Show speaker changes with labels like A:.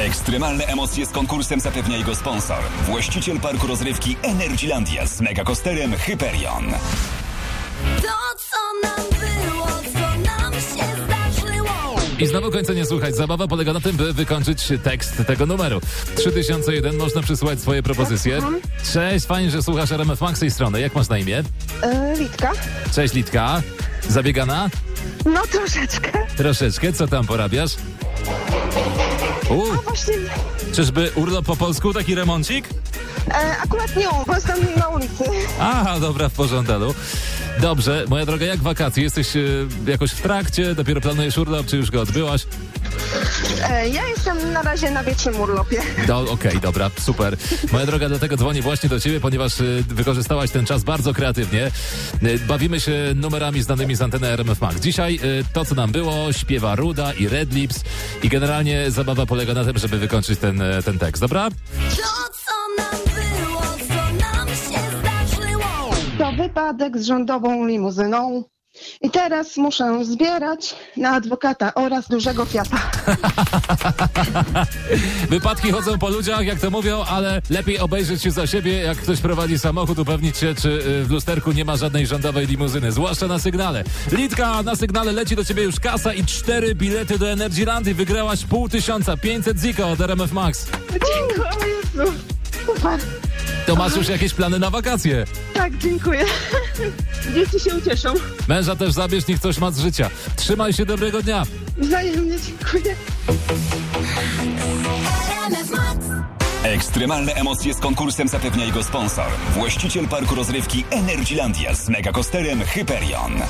A: Ekstremalne emocje z konkursem zapewnia jego sponsor. Właściciel parku rozrywki Energylandia z megakosterem Hyperion.
B: To, co nam było, co nam się zdarzyło.
C: I znowu końca nie słuchać. Zabawa polega na tym, by wykończyć tekst tego numeru. 3001 można przysłać swoje propozycje. Cześć, fajnie, że słuchasz RMF Max z tej strony. Jak masz na imię?
D: E, Witka?
C: Cześć Litka. Zabiegana?
D: No troszeczkę.
C: Troszeczkę. Co tam porabiasz? U,
D: No Właśnie
C: czyżby urlop po polsku, taki remoncik?
D: e, akurat nie, bo jestem na ulicy.
C: Aha, dobra, w porządku. Dobrze, moja droga, jak wakacje? Jesteś y, jakoś w trakcie? Dopiero planujesz urlop, czy już go odbyłaś?
D: E, ja jestem na razie na wiecznym urlopie.
C: Do, Okej, dobra, super. Moja droga, dlatego dzwonię właśnie do ciebie, ponieważ y, wykorzystałaś ten czas bardzo kreatywnie. Y, bawimy się numerami znanymi z anteny RMF Max. Dzisiaj y, to, co nam było, śpiewa Ruda i Red Lips i generalnie zabawa polega na tym, żeby wykończyć ten, y, ten tekst, dobra?
B: To, co nam było, co nam się zdarzyło.
D: To wypadek z rządową limuzyną. I teraz muszę zbierać na adwokata oraz dużego fiata.
C: Wypadki chodzą po ludziach, jak to mówią, ale lepiej obejrzeć się za siebie, jak ktoś prowadzi samochód, upewnić się, czy y, w lusterku nie ma żadnej rządowej limuzyny, zwłaszcza na sygnale. Litka, na sygnale leci do ciebie już kasa i cztery bilety do Energy Landy. Wygrałaś pół tysiąca, 500 ziko od RMF Max.
D: Dziękuję, o Jezu. Super.
C: To masz już jakieś plany na wakacje.
D: Tak, dziękuję. Dzieci się ucieszą.
C: Męża też zabierz, niech coś ma z życia. Trzymaj się, dobrego dnia.
D: Wzajemnie dziękuję.
B: RMF Max.
A: Ekstremalne emocje z konkursem zapewnia jego sponsor. Właściciel parku rozrywki Energylandia z megakosterem Hyperion.